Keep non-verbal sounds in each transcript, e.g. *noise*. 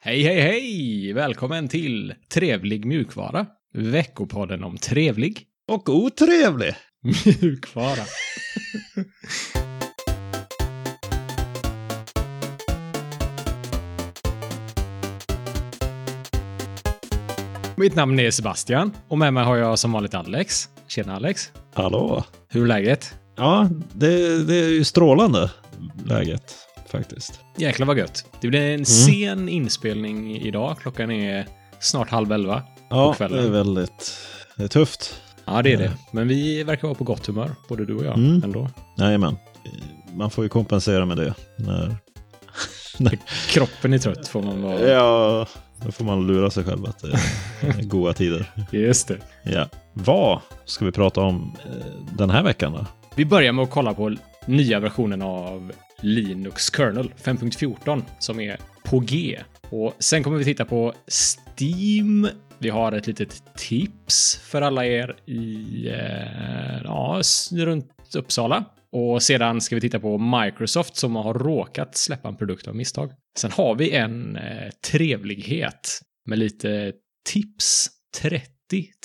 Hej, hej, hej! Välkommen till Trevlig mjukvara. Veckopodden om trevlig Och otrevlig! mjukvara. Mitt namn är Sebastian och med mig har jag som vanligt Alex. Tjena Alex! Hallå! Hur är läget? Ja, det, det är ju strålande läget faktiskt. Jäklar vad gött. Det blir en sen inspelning idag. Klockan är snart halv elva. Ja, På det kvällen. är väldigt det är tufft. Ja, det är Ja. det. Men vi verkar vara på gott humör, både du och jag Eh. Mm. ändå. Jajamän. Man får ju kompensera med det. När, Kroppen är trött får man vara. ja, då får man lura sig själv att det är goda tider. Just det. Ja. Vad ska vi prata om eh, den här veckan då? Vi börjar med att kolla på nya versionen av Linux Kernel 5.14 som är på G. Och sen kommer vi titta på Steam. Vi har ett litet tips för alla er i eh, ja, s- runt Uppsala. Och sedan ska vi titta på Microsoft som har råkat släppa en produkt av misstag. Sen har vi en eh, trevlighet med lite tips. 30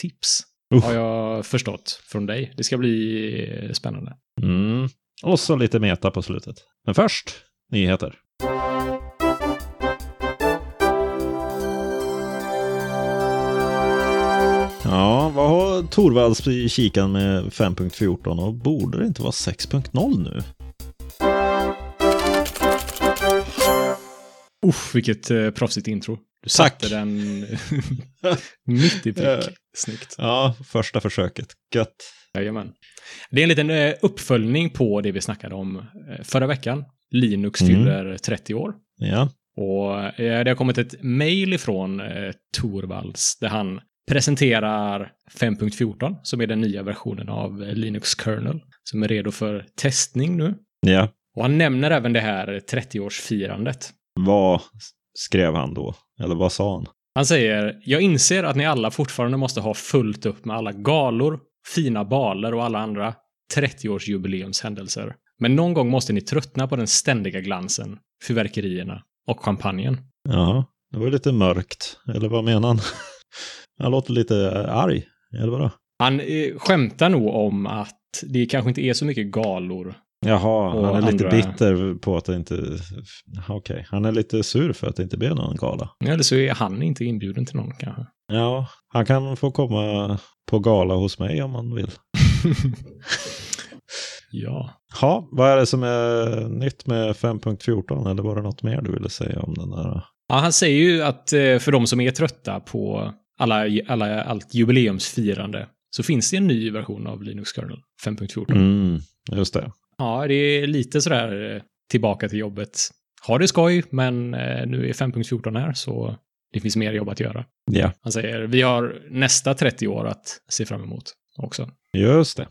tips Uff. har jag förstått från dig. Det ska bli eh, spännande. Mm. Och så lite meta på slutet. Men först, nyheter. Ja, vad har Torvalds i kikan med 5.14 och borde det inte vara 6.0 nu? Uff, vilket eh, proffsigt intro. Du Tack. Eh. satte den *laughs* mitt i Ja. prick. Snyggt. *laughs* Ja, första försöket. Gött. Jajamän. Det är en liten eh, uppföljning på det vi snackade om eh, förra veckan. Linux Mm. fyller 30 år. Ja. Och eh, det har kommit ett mejl ifrån eh, Torvalds där han presenterar 5.14 som är den nya versionen av eh, Linux Kernel som är redo för testning nu. Ja. Och han nämner även det här 30-årsfirandet. Vad skrev han då? Eller vad sa han? Han säger “Jag inser att ni alla fortfarande måste ha fullt upp med alla galor, fina baler och alla andra 30-årsjubileumshändelser. Men någon gång måste ni tröttna på den ständiga glansen, fyrverkerierna och champagnen.” Ja, det var lite mörkt. Eller vad menar han? *laughs* Han låter lite arg. Eller vadå? Han eh, skämtar nog om att det kanske inte är så mycket galor. Jaha, Och han är lite andra- bitter på att det inte... Okej, han är lite sur för att det inte blev någon gala. Eller så är han inte inbjuden till någon kanske. Ja, han kan få komma på gala hos mig om han vill. ja. Ja, vad är det som är nytt med 5.14? Eller var det något mer du ville säga om den där? ja. Han säger ju att eh, för de som är trötta på alla, alla, allt jubileumsfirande så finns det en ny version av Linux Kernel 5.14. Mm, just det. Ja, det är lite sådär eh, tillbaka till jobbet. Har det skoj, men eh, nu är 5.14 här så det finns mer jobb att göra. Ja, Han säger vi har nästa 30 år att se fram emot också. just det.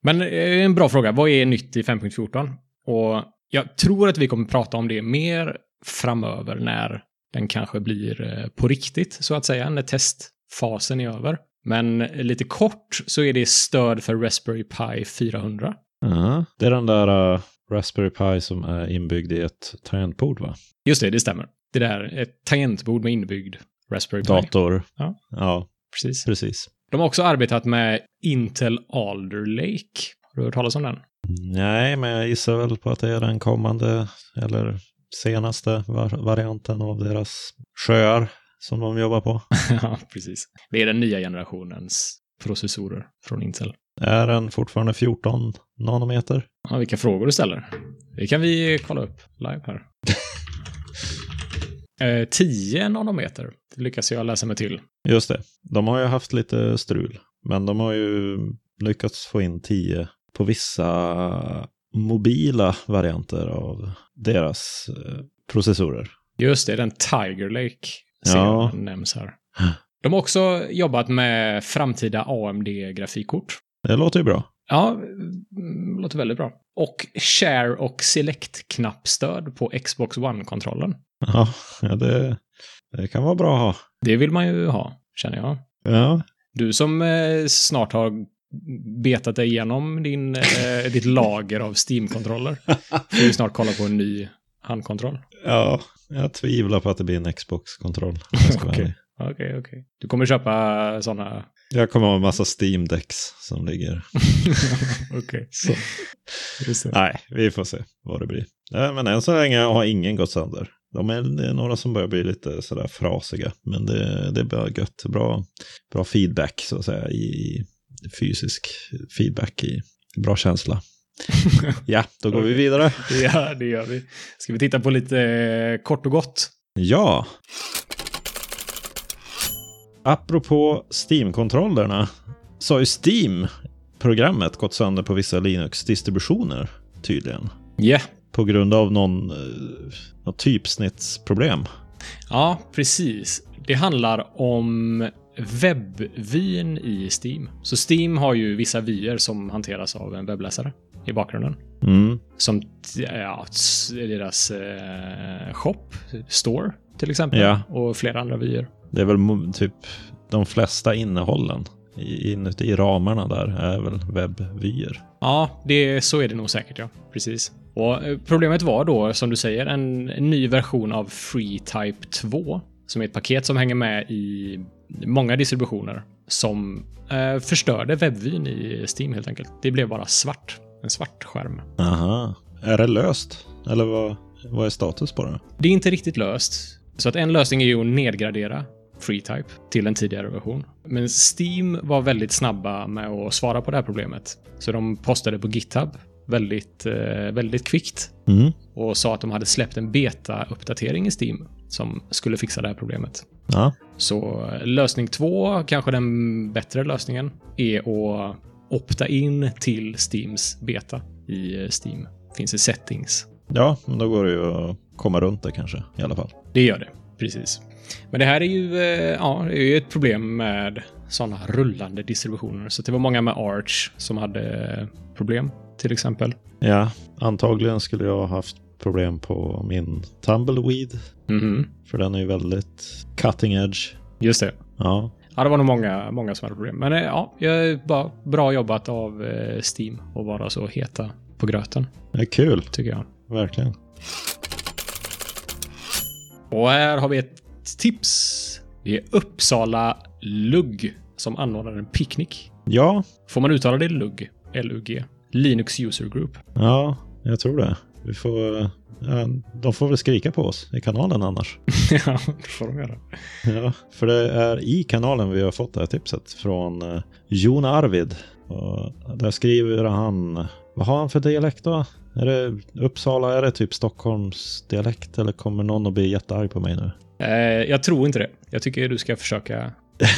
Men eh, en bra fråga, vad är nytt i 5.14? Och jag tror att vi kommer prata om det mer framöver när den kanske blir eh, på riktigt, så att säga, när testfasen är över. Men eh, lite kort så är det stöd för Raspberry Pi 400. Ja, Det är den där eh, Raspberry Pi som är inbyggd i ett tangentbord, va? Just det, det stämmer. Det där, ett tangentbord med inbyggd Raspberry Pi. Dator. Ja. ja, Precis. precis. De har också arbetat med Intel Alder Lake. Har du hört talas om den? Nej, men jag gissar väl på att det är den kommande eller senaste var- varianten av deras sjöar som de jobbar på. *laughs* *laughs* ja, precis. Det är den nya generationens processorer från Intel. Är den fortfarande 14 nanometer? Ja, vilka frågor du ställer. Det kan vi kolla upp live här. *laughs* Eh, 10 nanometer det lyckas jag läsa mig till. Just det, de har ju haft lite strul, men de har ju lyckats få in 10 på vissa mobila varianter av deras eh, processorer. Just det, den Tiger Lake Ja. serien nämns här. De har också jobbat med framtida AMD-grafikkort. Det låter ju bra. *laughs* Ja, mm, låter väldigt bra. Och share och select-knappstöd på Xbox One-kontrollen. Ja, ja, det, det kan vara bra att ha. Det vill man ju ha, känner jag. Ja, Du som eh, snart har betat dig igenom din, eh, ditt lager av Steam-kontroller får ju snart kolla på en ny handkontroll? Ja, jag tvivlar på att det blir en Xbox-kontroll. om jag ska vara Okej. ärlig. Okej, okej. Du kommer köpa sådana... Jag kommer ha en massa steam decks som ligger. okej. Så. Just det. Nej, vi får se vad det blir. Nej, men än så länge har ingen gått sönder. De är, det är några som börjar bli lite sådär frasiga, men det, det är bara gött. Bra, bra feedback, så att säga, i fysisk feedback, i bra känsla. ja, då går vi vidare. Ja, det gör vi. Ska vi titta på lite eh, kort och gott? Ja. Apropå Steam-kontrollerna så har ju Steam-programmet gått sönder på vissa Linux-distributioner tydligen. Ja. På grund av någon, eh, något typsnittsproblem. Ja, precis. Det handlar om webbvyn i Steam. Så Steam har ju vissa vyer som hanteras av en webbläsare i bakgrunden. Mm. Som t- ja, s- deras eh, shop, store till exempel. Ja. Och flera andra vyer. Det är väl mo- typ de flesta innehållen i- inuti ramarna där är väl webbvyer. Ja, det, så är det nog säkert ja. Precis. Och eh, problemet var då, som du säger, en ny version av FreeType 2. Som är ett paket som hänger med i många distributioner. Som eh, förstörde webbvyn i Steam helt enkelt. Det blev bara svart. En svart skärm. Aha. Är det löst? Eller vad, vad är status på det? Det är inte riktigt löst. Så att en lösning är ju att nedgradera FreeType till en tidigare version. Men Steam var väldigt snabba med att svara på det här problemet. Så de postade på GitHub väldigt, eh, väldigt kvickt Mm. och sa att de hade släppt en beta-uppdatering i Steam som skulle fixa det här problemet. Ja. Så eh, lösning två, kanske den bättre lösningen, är att opta in till Steams beta i eh, Steam. Finns i settings. ja, men då går det ju att komma runt det kanske i alla fall. Det gör det, precis. Men det här är ju, eh, ja, det är ju ett problem med sådana rullande distributioner. Så det var många med Arch som hade problem, till exempel. Ja, antagligen skulle jag ha haft problem på min Tumbleweed. Mhm, För den är ju väldigt cutting edge. Just det. Ja, Ja, det var nog många, många som hade problem. Men eh, ja, jag är bara bra jobbat av eh, Steam att vara så heta på gröten, det är kul. tycker jag. Verkligen. Och här har vi ett tips. Det är Uppsala Lugg som anordnar en picknick. Ja, Får man uttala det Lugg? L-U-G. Linux User Group. ja, jag tror det. Vi får, ja, de får väl skrika på oss i kanalen annars. *laughs* *laughs* ja, det får de göra. Ja, för det är i kanalen vi har fått det här tipset från eh, Jon Arvid. Och där skriver han, vad har han för dialekt då? Är det Uppsala, är det typ Stockholms dialekt eller kommer någon att bli jättearg på mig nu? Eh, jag tror inte det. Jag tycker du ska försöka. *laughs*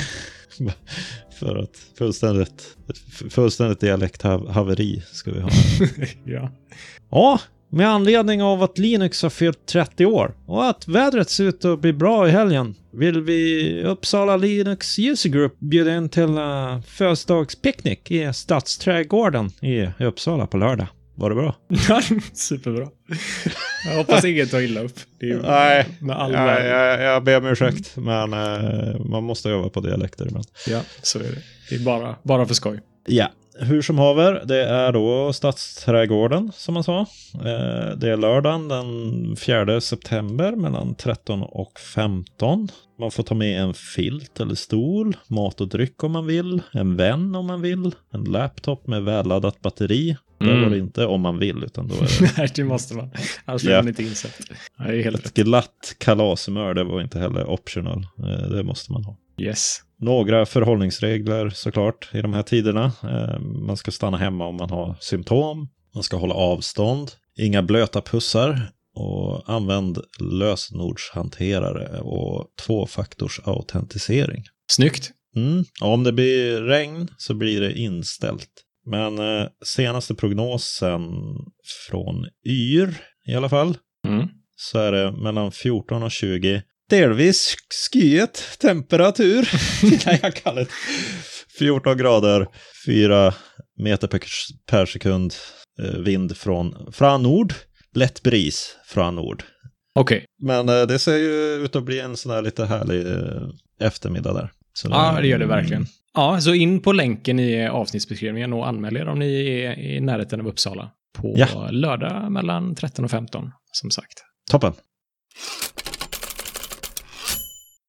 För att fullständigt, ett f- fullständigt dialekthaveri ska vi ha. ja. ja, med anledning av att Linux har fyllt 30 år och att vädret ser ut att bli bra i helgen vill vi Uppsala Linux User Group bjuda in till uh, födelsedagspicknick i Stadsträdgården i Uppsala på lördag. Var det bra? *laughs* Superbra. Jag hoppas ingen tar illa upp. Det är ju Nej, med all värld. jag ber om ursäkt, men eh, man måste öva på dialekter ibland. Ja, så är det. Det är bara, bara för skoj. Ja, hur som haver, det är då Stadsträdgården som man sa. Eh, Det är lördagen den 4 september mellan 13 och 15. Man får ta med en filt eller stol, mat och dryck om man vill, en vän om man vill, en laptop med väladdat batteri. Mm. Det går det inte om man vill, utan då är det *laughs* Nej, det måste man. Annars blir Ja. man inte insett. Nej, det är helt rätt. ett glatt kalasmör. Det var inte heller optional. Eh, Det måste man ha. Yes. Några förhållningsregler såklart i de här tiderna. Eh, Man ska stanna hemma om man har symptom. Man ska hålla avstånd. Inga blöta pussar. Och använd lösenordshanterare och tvåfaktorsautentisering. Snyggt. Mm. Ja, om det blir regn så blir det inställt. Men eh, senaste prognosen från YR i alla fall Mm. så är det mellan 14 och 20. Delvis skyet temperatur. *laughs* Nej, jag kallar det 14 grader, 4 meter per, per sekund eh, vind från, från nord. Lätt bris från nord. Okej. Men eh, det ser ju ut att bli en sån här lite härlig eh, eftermiddag där. Så Ja, det gör det verkligen. Ja, så in på länken i avsnittsbeskrivningen och anmäl er om ni är i närheten av Uppsala på Ja. lördag mellan 13 och 15, som sagt. Toppen.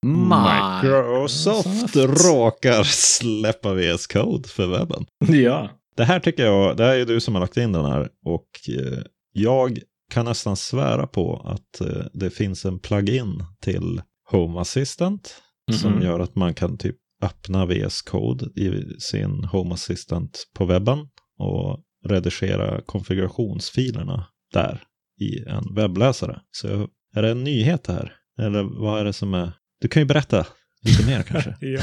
Ma- Microsoft Microsoft. råkar släppa VS Code för webben. Ja. Det här tycker jag, det här är ju du som har lagt in den här och eh, jag kan nästan svära på att eh, det finns en plugin till Home Assistant som Mhm. gör att man kan typ öppna VS Code i sin Home Assistant på webben och redigera konfigurationsfilerna där i en webbläsare. Så är det en nyhet det här? Eller vad är det som är? Du kan ju berätta lite mer kanske. Ja.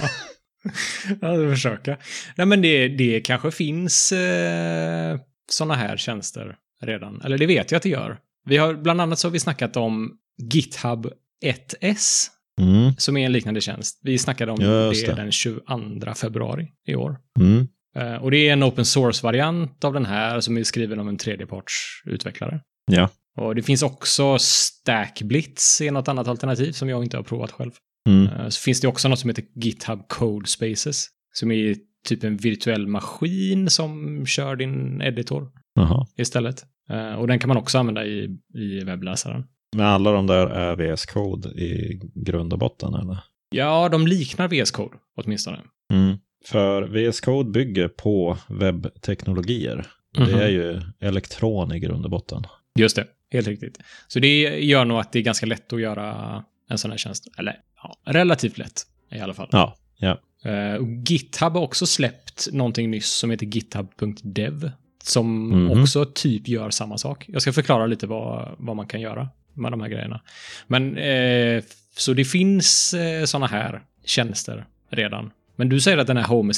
*laughs* Jag ska försöka. Nej, men det, det kanske finns eh, sådana här tjänster redan. Eller det vet jag att det gör. Vi har, bland annat så har vi snackat om GitHub 1S, *laughs* Mm, som är en liknande tjänst. Vi snackade om Just det, det. den 22 februari i år. mm, Eh, och det är en open source-variant av den här som är skriven av en tredjepartsutvecklare. Ja. Och det finns också Stackblitz i något annat alternativ som jag inte har provat själv. mm. Eh, Så finns det också något som heter GitHub Code Spaces, som är typ en virtuell maskin som kör din editor Jaha. istället. Eh, Och den kan man också använda i, i webbläsaren. Men alla de där är VS Code i grund och botten eller? Ja, de liknar VS Code åtminstone. Mm. För VS Code bygger på webbteknologier. Mhm. Det är ju elektron i grund och botten. Just det, helt riktigt. Så det gör nog att det är ganska lätt att göra en sån här tjänst. Eller ja, relativt lätt i alla fall. Ja, ja. Eh, och GitHub har också släppt någonting nyss som heter github.dev. Som Mhm. också typ gör samma sak. Jag ska förklara lite vad, vad man kan göra med de här grejerna. Men eh, så det finns eh, såna här tjänster redan. Men du säger att den här Home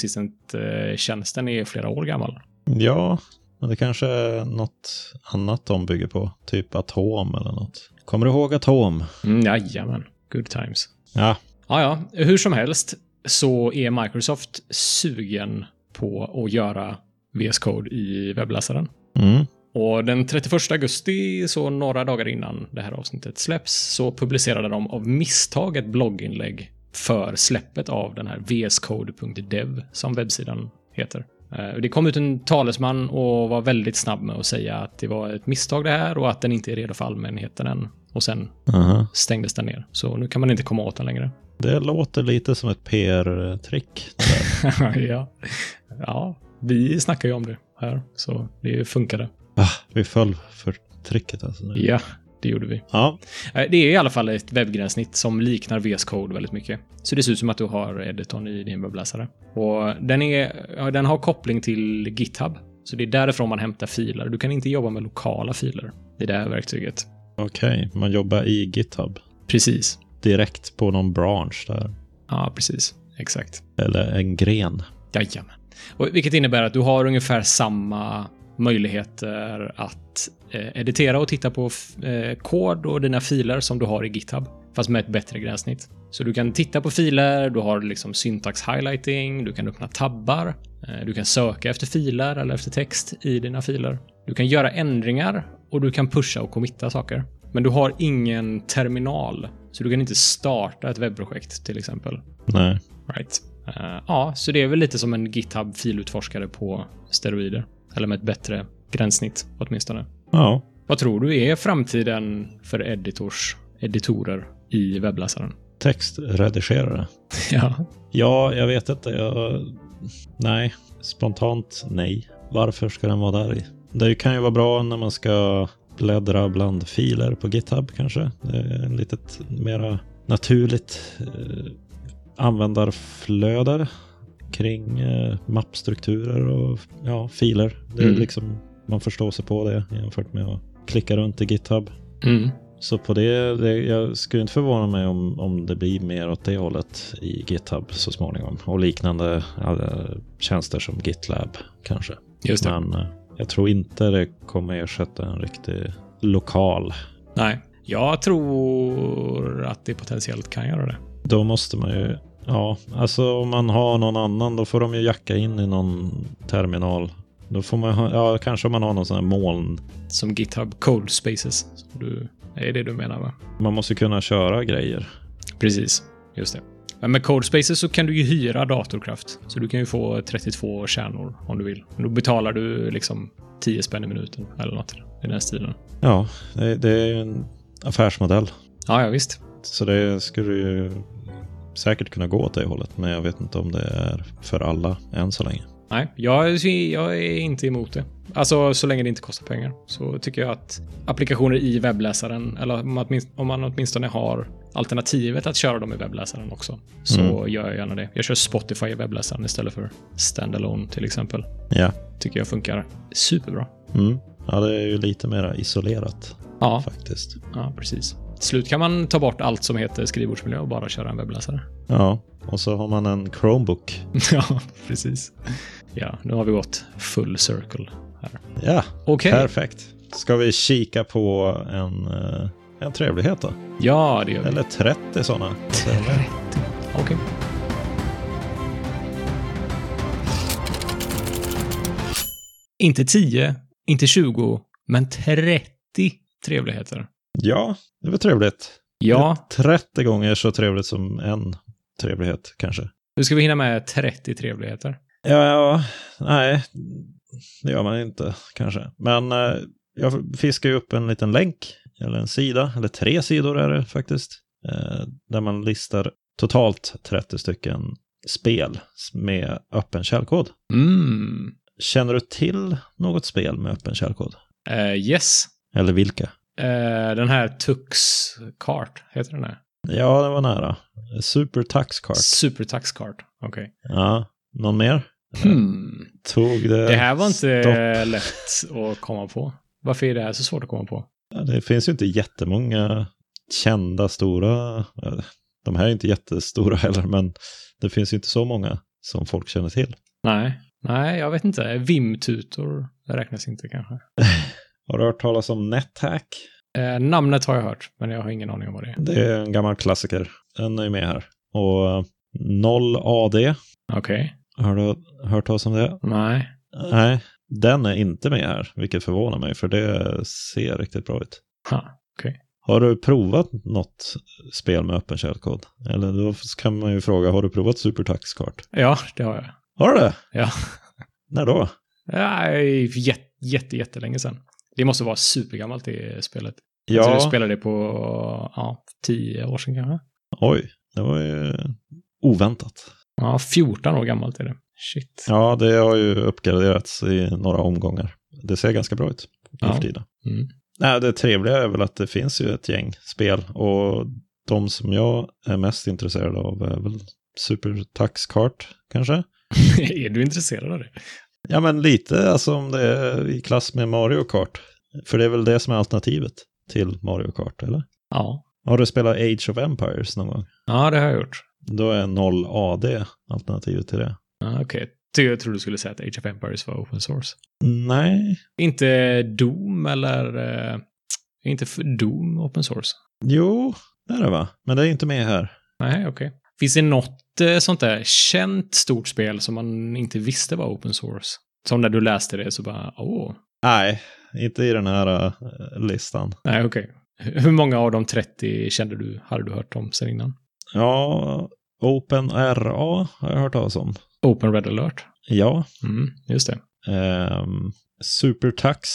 Assistant-tjänsten är flera år gammal. Ja, men det kanske är något annat de bygger på. Typ atom eller något. Kommer du ihåg atom? Mm, jajamän, good times. Ja. Ja, ja. Hur som helst så är Microsoft sugen på att göra VS Code i webbläsaren. Mm. Och den 31 augusti, så några dagar innan det här avsnittet släpps, så publicerade de av misstag ett blogginlägg för släppet av den här vscode.dev som webbsidan heter. Eh, Det kom ut en talesman och var väldigt snabb med att säga att det var ett misstag det här och att den inte är redo för allmänheten än. Och sen Aha. stängdes den ner, så nu kan man inte komma åt den längre. Det låter lite som ett PR-trick. ja. ja, vi snackar ju om det här, så det funkade. Ah, vi föll för tricket alltså. nu. Ja, det gjorde vi. Ja, Eh, Det är i alla fall ett webbgränssnitt som liknar VS Code väldigt mycket. Så det ser ut som att du har editorn i din webbläsare. Och den, är, ja, den har koppling till GitHub. Så det är därifrån man hämtar filer. Du kan inte jobba med lokala filer i det här verktyget. okej. Man jobbar i GitHub. Precis. Direkt på någon bransch där. Ja, precis. Exakt. Eller en gren. Jajamän. Och vilket innebär att du har ungefär samma möjligheter att eh, editera och titta på f- eh, kod och dina filer som du har i GitHub, fast med ett bättre gränssnitt. Så du kan titta på filer, du har liksom syntax highlighting, du kan öppna tabbar, eh, du kan söka efter filer eller efter text i dina filer. Du kan göra ändringar och du kan pusha och committa saker. Men du har ingen terminal, så du kan inte starta ett webbprojekt till exempel. Nej. Right. Eh, ja, så det är väl lite som en GitHub-filutforskare på steroider. Eller med ett bättre gränssnitt åtminstone. Ja. Vad tror du är framtiden för editors, editorer i webbläsaren? Textredigerare. *laughs* ja. Ja, jag vet inte. Jag... Nej, spontant nej. Varför ska den vara där i? Det kan ju vara bra när man ska bläddra bland filer på GitHub kanske. Det är ett litet mera naturligt eh, användarflöde kring eh, mappstrukturer och ja, filer. Det är Mm. liksom, man förstår sig på det jämfört med att klicka runt i GitHub. Mm. Så på det, det jag skulle inte förvåna mig om, om det blir mer åt det hållet i GitHub så småningom. Och liknande eh, tjänster som GitLab kanske. Just det. Men eh, jag tror inte det kommer ersätta en riktig lokal. Nej. Jag tror att det potentiellt kan göra det. Då måste man ju, ja, alltså om man har någon annan då får de ju jacka in i någon terminal. Då får man ha, ja, kanske om man har någon sån här moln. Som GitHub Code Spaces. Som du, det är det du menar, va? Man måste kunna köra grejer. Precis. Just det. Men med Code Spaces så kan du ju hyra datorkraft. Så du kan ju få 32 kärnor om du vill. Men Då betalar du liksom 10 spänn i minuten eller något i den här stilen. Ja, det, det är ju en affärsmodell. Ja, ja visst. Så det skulle ju säkert kunna gå åt det hållet, men jag vet inte om det är för alla än så länge. Nej, jag, jag är inte emot det. Alltså så länge det inte kostar pengar så tycker jag att applikationer i webbläsaren, eller om man åtminst- om man åtminstone har alternativet att köra dem i webbläsaren också, så Mm. gör jag gärna det. Jag kör Spotify i webbläsaren istället för standalone till exempel. Ja, Tycker jag funkar superbra. mm. ja det är ju lite mer isolerat Ja, faktiskt. ja precis. Till slut kan man ta bort allt som heter skrivbordsmiljö och bara köra en webbläsare. *laughs* Ja, och så har man en Chromebook. ja, precis. Ja, nu har vi gått full circle här. Ja, Okej. perfekt. Ska vi kika på en, eh, en trevlighet då? Ja, det gör vi. Eller 30 sådana. Okej. Inte 10, inte 20, men 30 trevligheter. Ja, det var trevligt. Ja, 30 gånger så trevligt som en trevlighet kanske. nu ska vi hinna med 30 trevligheter. Ja, ja nej, det gör man inte kanske. Men eh, jag fiskar ju upp en liten länk, eller en sida, eller tre sidor är det faktiskt, eh, där man listar totalt 30 stycken spel med öppen källkod. Mm. Känner du till något spel med öppen källkod? Eh, yes. Eller vilka? Eh, den här Tux Kart, heter den det? Ja, det var nära. Super Tax Card. Super Tux Kart. Okej. Ja, någon mer? Hmm. Tog det... Det här var inte stopp. lätt att komma på. Varför är det här så svårt att komma på? Ja, Det finns ju inte jättemånga kända stora. eh, De här är inte jättestora heller, men det finns ju inte så många som folk känner till. Nej, nej, jag vet inte. Vimtutor räknas inte kanske. Har du hört talas om NetHack? Eh, namnet har jag hört, men jag har ingen aning om vad det är. Det är en gammal klassiker. Den är ju med här. Och eh, 0AD, Okej. har du hört talas om det? Nej. Nej, den är inte med här, vilket förvånar mig, för det ser riktigt bra ut. Ha. Har du provat något spel med öppen källkod? Eller då kan man ju fråga, har du provat Supertax Kart? Ja, det har jag. Har du det? Ja. När då? Nej, jätte, jätte, jättelänge sedan. Det måste vara supergammalt det spelet. Ja. Jag tror Ja, jag spelade det på, ja, tio år sedan kanske. oj, det var ju oväntat. Ja, 14 år gammalt är det. Shit. Ja, det har ju uppgraderats i några omgångar. Det ser ganska bra ut nu Ja. för tiden. Mm. Nej, det trevliga är väl att det finns ju ett gäng spel och de som jag är mest intresserad av är väl Supertax Kart kanske. *laughs* är du intresserad av det? Ja, men lite alltså om det är i klass med Mario Kart. För det är väl det som är alternativet till Mario Kart, eller? Ja. Har du spelat Age of Empires någon gång? Ja, det har jag gjort. Då är 0AD alternativet till det. Ja, Ah, Okej. Ty- Jag trodde du skulle säga att Age of Empires var open source. Nej, Inte Doom eller... Eh, inte för Doom open source? jo, det är det va? Men det är inte med här. Nej, okej. Finns det något eh, sånt där känt stort spel som man inte visste var open source? Som när du läste det så bara, åh. Nej, inte i den här eh, listan. Nej, okej. Hur många av de 30 kände du, hade du hört om sen innan? Ja, OpenRA har jag hört talas om. Open Red Alert. Ja, Mm, just det. ehm, Supertax.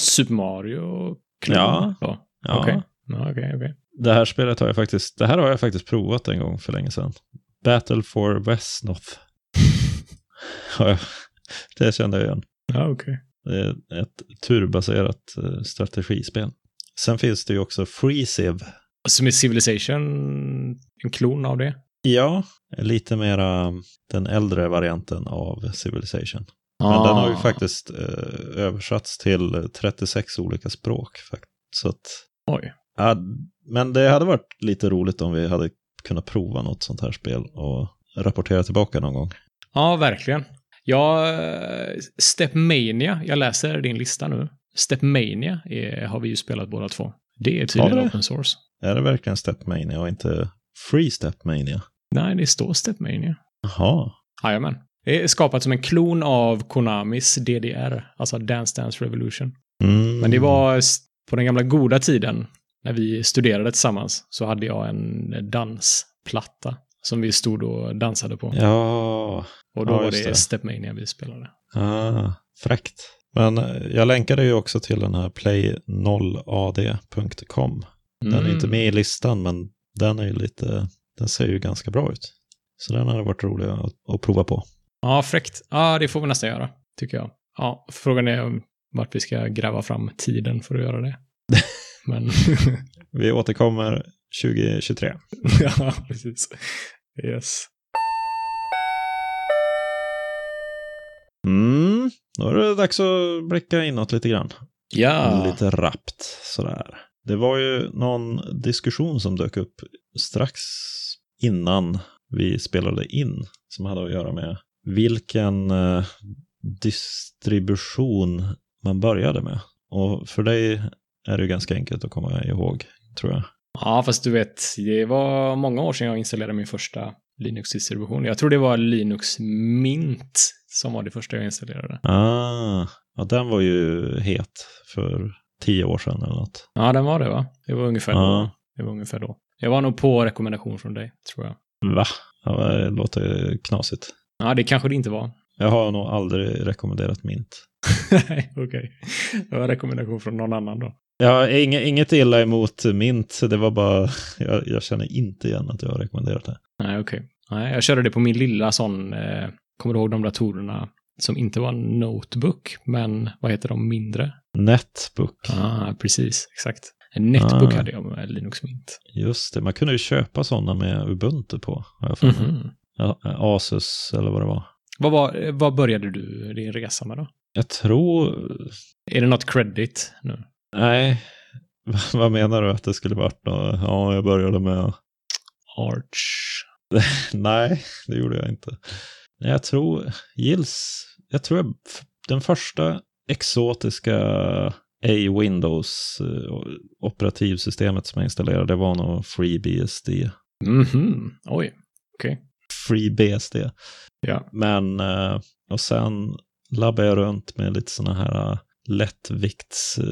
Super Mario. Clone. Ja. Ja, Ja. okej. Ja, okej, okej. Det här spelet har jag faktiskt, det här har jag faktiskt provat en gång för länge sedan. Battle for Westnoth. *laughs* Har jag- det kände jag igen. Ja, okej. Det är ett turbaserat eh, strategispel. Sen finns det ju också FreeCiv. Som är Civilization, en klon av det? Ja, lite mera mm, den äldre varianten av Civilization. Men Ah. den har ju faktiskt eh, översatts till 36 olika språk. fakt- Så att, Oj. ja, men det hade varit lite roligt om vi hade kunnat prova något sånt här spel och rapportera tillbaka någon gång. Ja, verkligen. Jag, Stepmania, jag läser din lista nu. Stepmania är, har vi ju spelat båda två. Det är Har tydligen vi det? open source. Är det verkligen Stepmania och inte Free Stepmania? Nej, det står Stepmania. Jaha. Jajamän. Det är skapat som en klon av Konamis DDR, alltså Dance Dance Revolution. Mm. Men det var s- på den gamla goda tiden, när vi studerade tillsammans, så hade jag en dansplatta som vi stod och dansade på. Mm. Ja, och då ja, var just det, det. Stepmania vi spelade. ah, fräckt. Men eh, jag länkade ju också till den här play0ad.com Den Mm. är inte med i listan, men den är ju lite, den ser ju ganska bra ut. Så den hade varit rolig att, att prova på. Ja, fräckt. Ja, det får vi nästan göra, tycker jag. Ja, frågan är om vart vi ska gräva fram tiden för att göra *laughs* det. Men Vi återkommer 2023. *laughs* ja, precis. Yes. Mm, då är det dags att blicka inåt lite grann. Ja. Lite rappt sådär. Det var ju någon diskussion som dök upp strax innan vi spelade in som hade att göra med vilken eh, distribution man började med. Och för dig är det ju ganska enkelt att komma ihåg, tror jag. Ja, fast du vet, det var många år sedan jag installerade min första Linux-distribution. Jag tror det var Linux Mint som var det första jag installerade. Ah, ja, den var ju het för tio år sedan eller något. Ja, den var det va? Det var ungefär, Ja. då. Det var ungefär då. Jag var nog på rekommendation från dig, tror jag. Va? Ja, det låter knasigt. Ja, det kanske det inte var. Jag har nog aldrig rekommenderat mint. Nej, *laughs* okej. Det var rekommendation från någon annan då. Ja, inget, inget illa emot mint. Det var bara, *laughs* jag, jag känner inte igen att jag har rekommenderat det. Nej, okej. Nej, jag körde det på min lilla sån, eh, kommer du ihåg de datorerna som inte var en notebook, men vad heter de mindre? Netbook. Ah, precis, exakt. En netbook Ah. hade jag med Linux Mint. Just det, man kunde ju köpa sådana med Ubuntu på. har jag för mig. Mhm. Ja, Asus eller vad det var. Vad, var, vad började du din resa med då? Jag tror... Är det något credit nu? Nej, *laughs* vad menar du att det skulle varit? Då? Ja, jag började med... Arch? Nej, det gjorde jag inte. Nej, Jag tror, gills, jag tror jag, f- den första exotiska A-Windows eh, operativsystemet som jag installerade var nog FreeBSD. Mhm, oj. FreeBSD. Ja. Men, eh, och sen labbade jag runt med lite sådana här eh,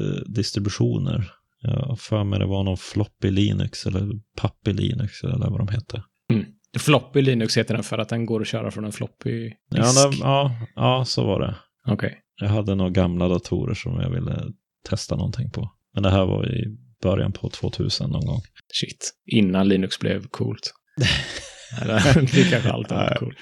lättviktsdistributioner. Jag har för mig det var någon Floppy Linux eller Pappy Linux eller vad de hette. Floppy Linux heter den för att den går att köra från en floppy disk. Ja, det, ja, ja, så var det. Okej. Jag hade några gamla datorer som jag ville testa någonting på. Men det här var i början på 2000 någon gång. Shit. Innan Linux blev *laughs* coolt. Eller *laughs* det kanske alltid Nej. var coolt.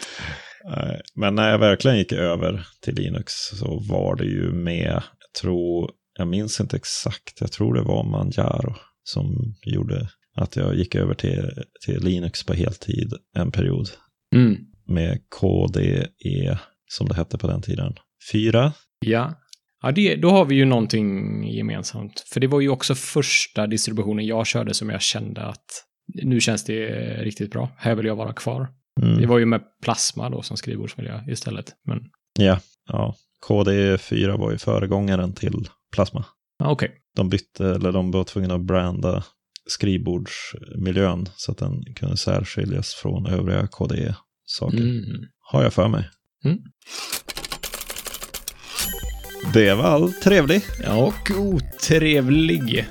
Nej, Men när jag verkligen gick över till Linux så var det ju med, jag tror, jag minns inte exakt, jag tror det var Manjaro som gjorde att jag gick över till, till Linux på heltid en period Mm. med KDE som det hette på den tiden. Fyra? Ja. Ja, det, då har vi ju någonting gemensamt. För det var ju också första distributionen jag körde som jag kände att nu känns det riktigt bra. Här vill jag vara kvar. Mm. Det var ju med plasma då som skrivbordsmiljö istället. Men Ja, KDE 4 var ju föregångaren till Plasma. ja, okej. de bytte, eller de var tvungna att branda skrivbordsmiljön så att den kunde särskiljas från övriga KDE-saker. Mm. Har jag för mig. Mm. Det var allt trevlig Ja, och otrevlig.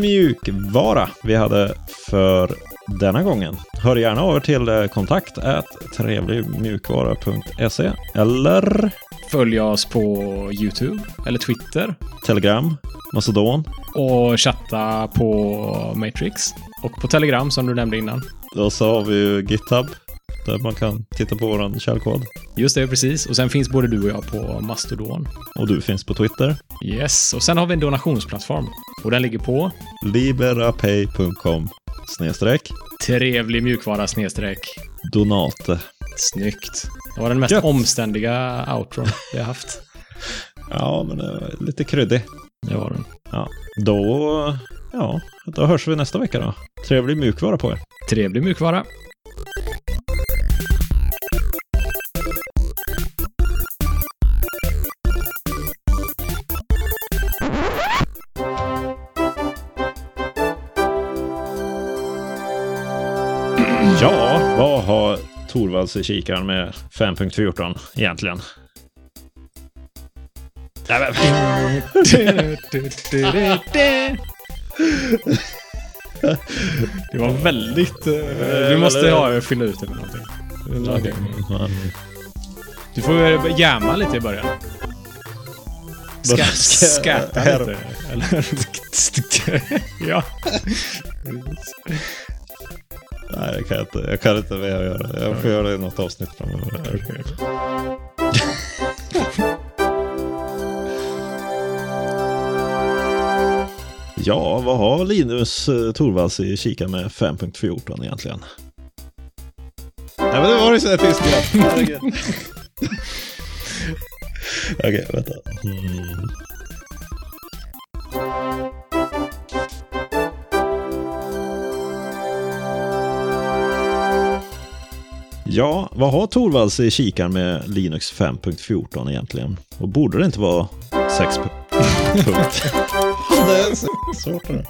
mjukvara vi hade för denna gången. Hör gärna av er till eh, kontakt at trevligmjukvara.se E eller Följ oss på YouTube eller Twitter Telegram, Mastodon. och chatta på Matrix och på Telegram som du nämnde innan. Och så har vi ju GitHub där man kan titta på vår källkod. Just det, precis. Och sen finns både du och jag på Mastodon. Och du finns på Twitter. Yes, och sen har vi en donationsplattform och den ligger på liberapay.com snedstreck trevlig mjukvara snedstreck. donate. Snyggt. Det var den mest Gött. omständiga outron vi har haft. Ja, men det var lite kryddig. Det var den. Då, ja, då hörs vi nästa vecka då. Trevlig mjukvara på er. Trevlig mjukvara. Ja, vad har Torvalds i kikaren med 5.14 egentligen? Nej, men, Det var väldigt... eh, Du måste ha, fylla ut det med någonting. Okej. Du får väl jamma lite i början. Ska, Ska- skatta lite. Eller *laughs* ja. Nej, jag kan inte, jag kan inte mer göra. Jag får göra det i något avsnitt framöver. *laughs* Ja, vad har Linus eh, Torvalds i kika med 5.14 egentligen? Nej, men det var ju sådär tyst igen. Herregud. Okej, vänta. Mm. Ja, vad har Torvalds i kikaren med Linux 5.14 egentligen? Och borde det inte *laughs* vara 6. punkt? det är svårt nu.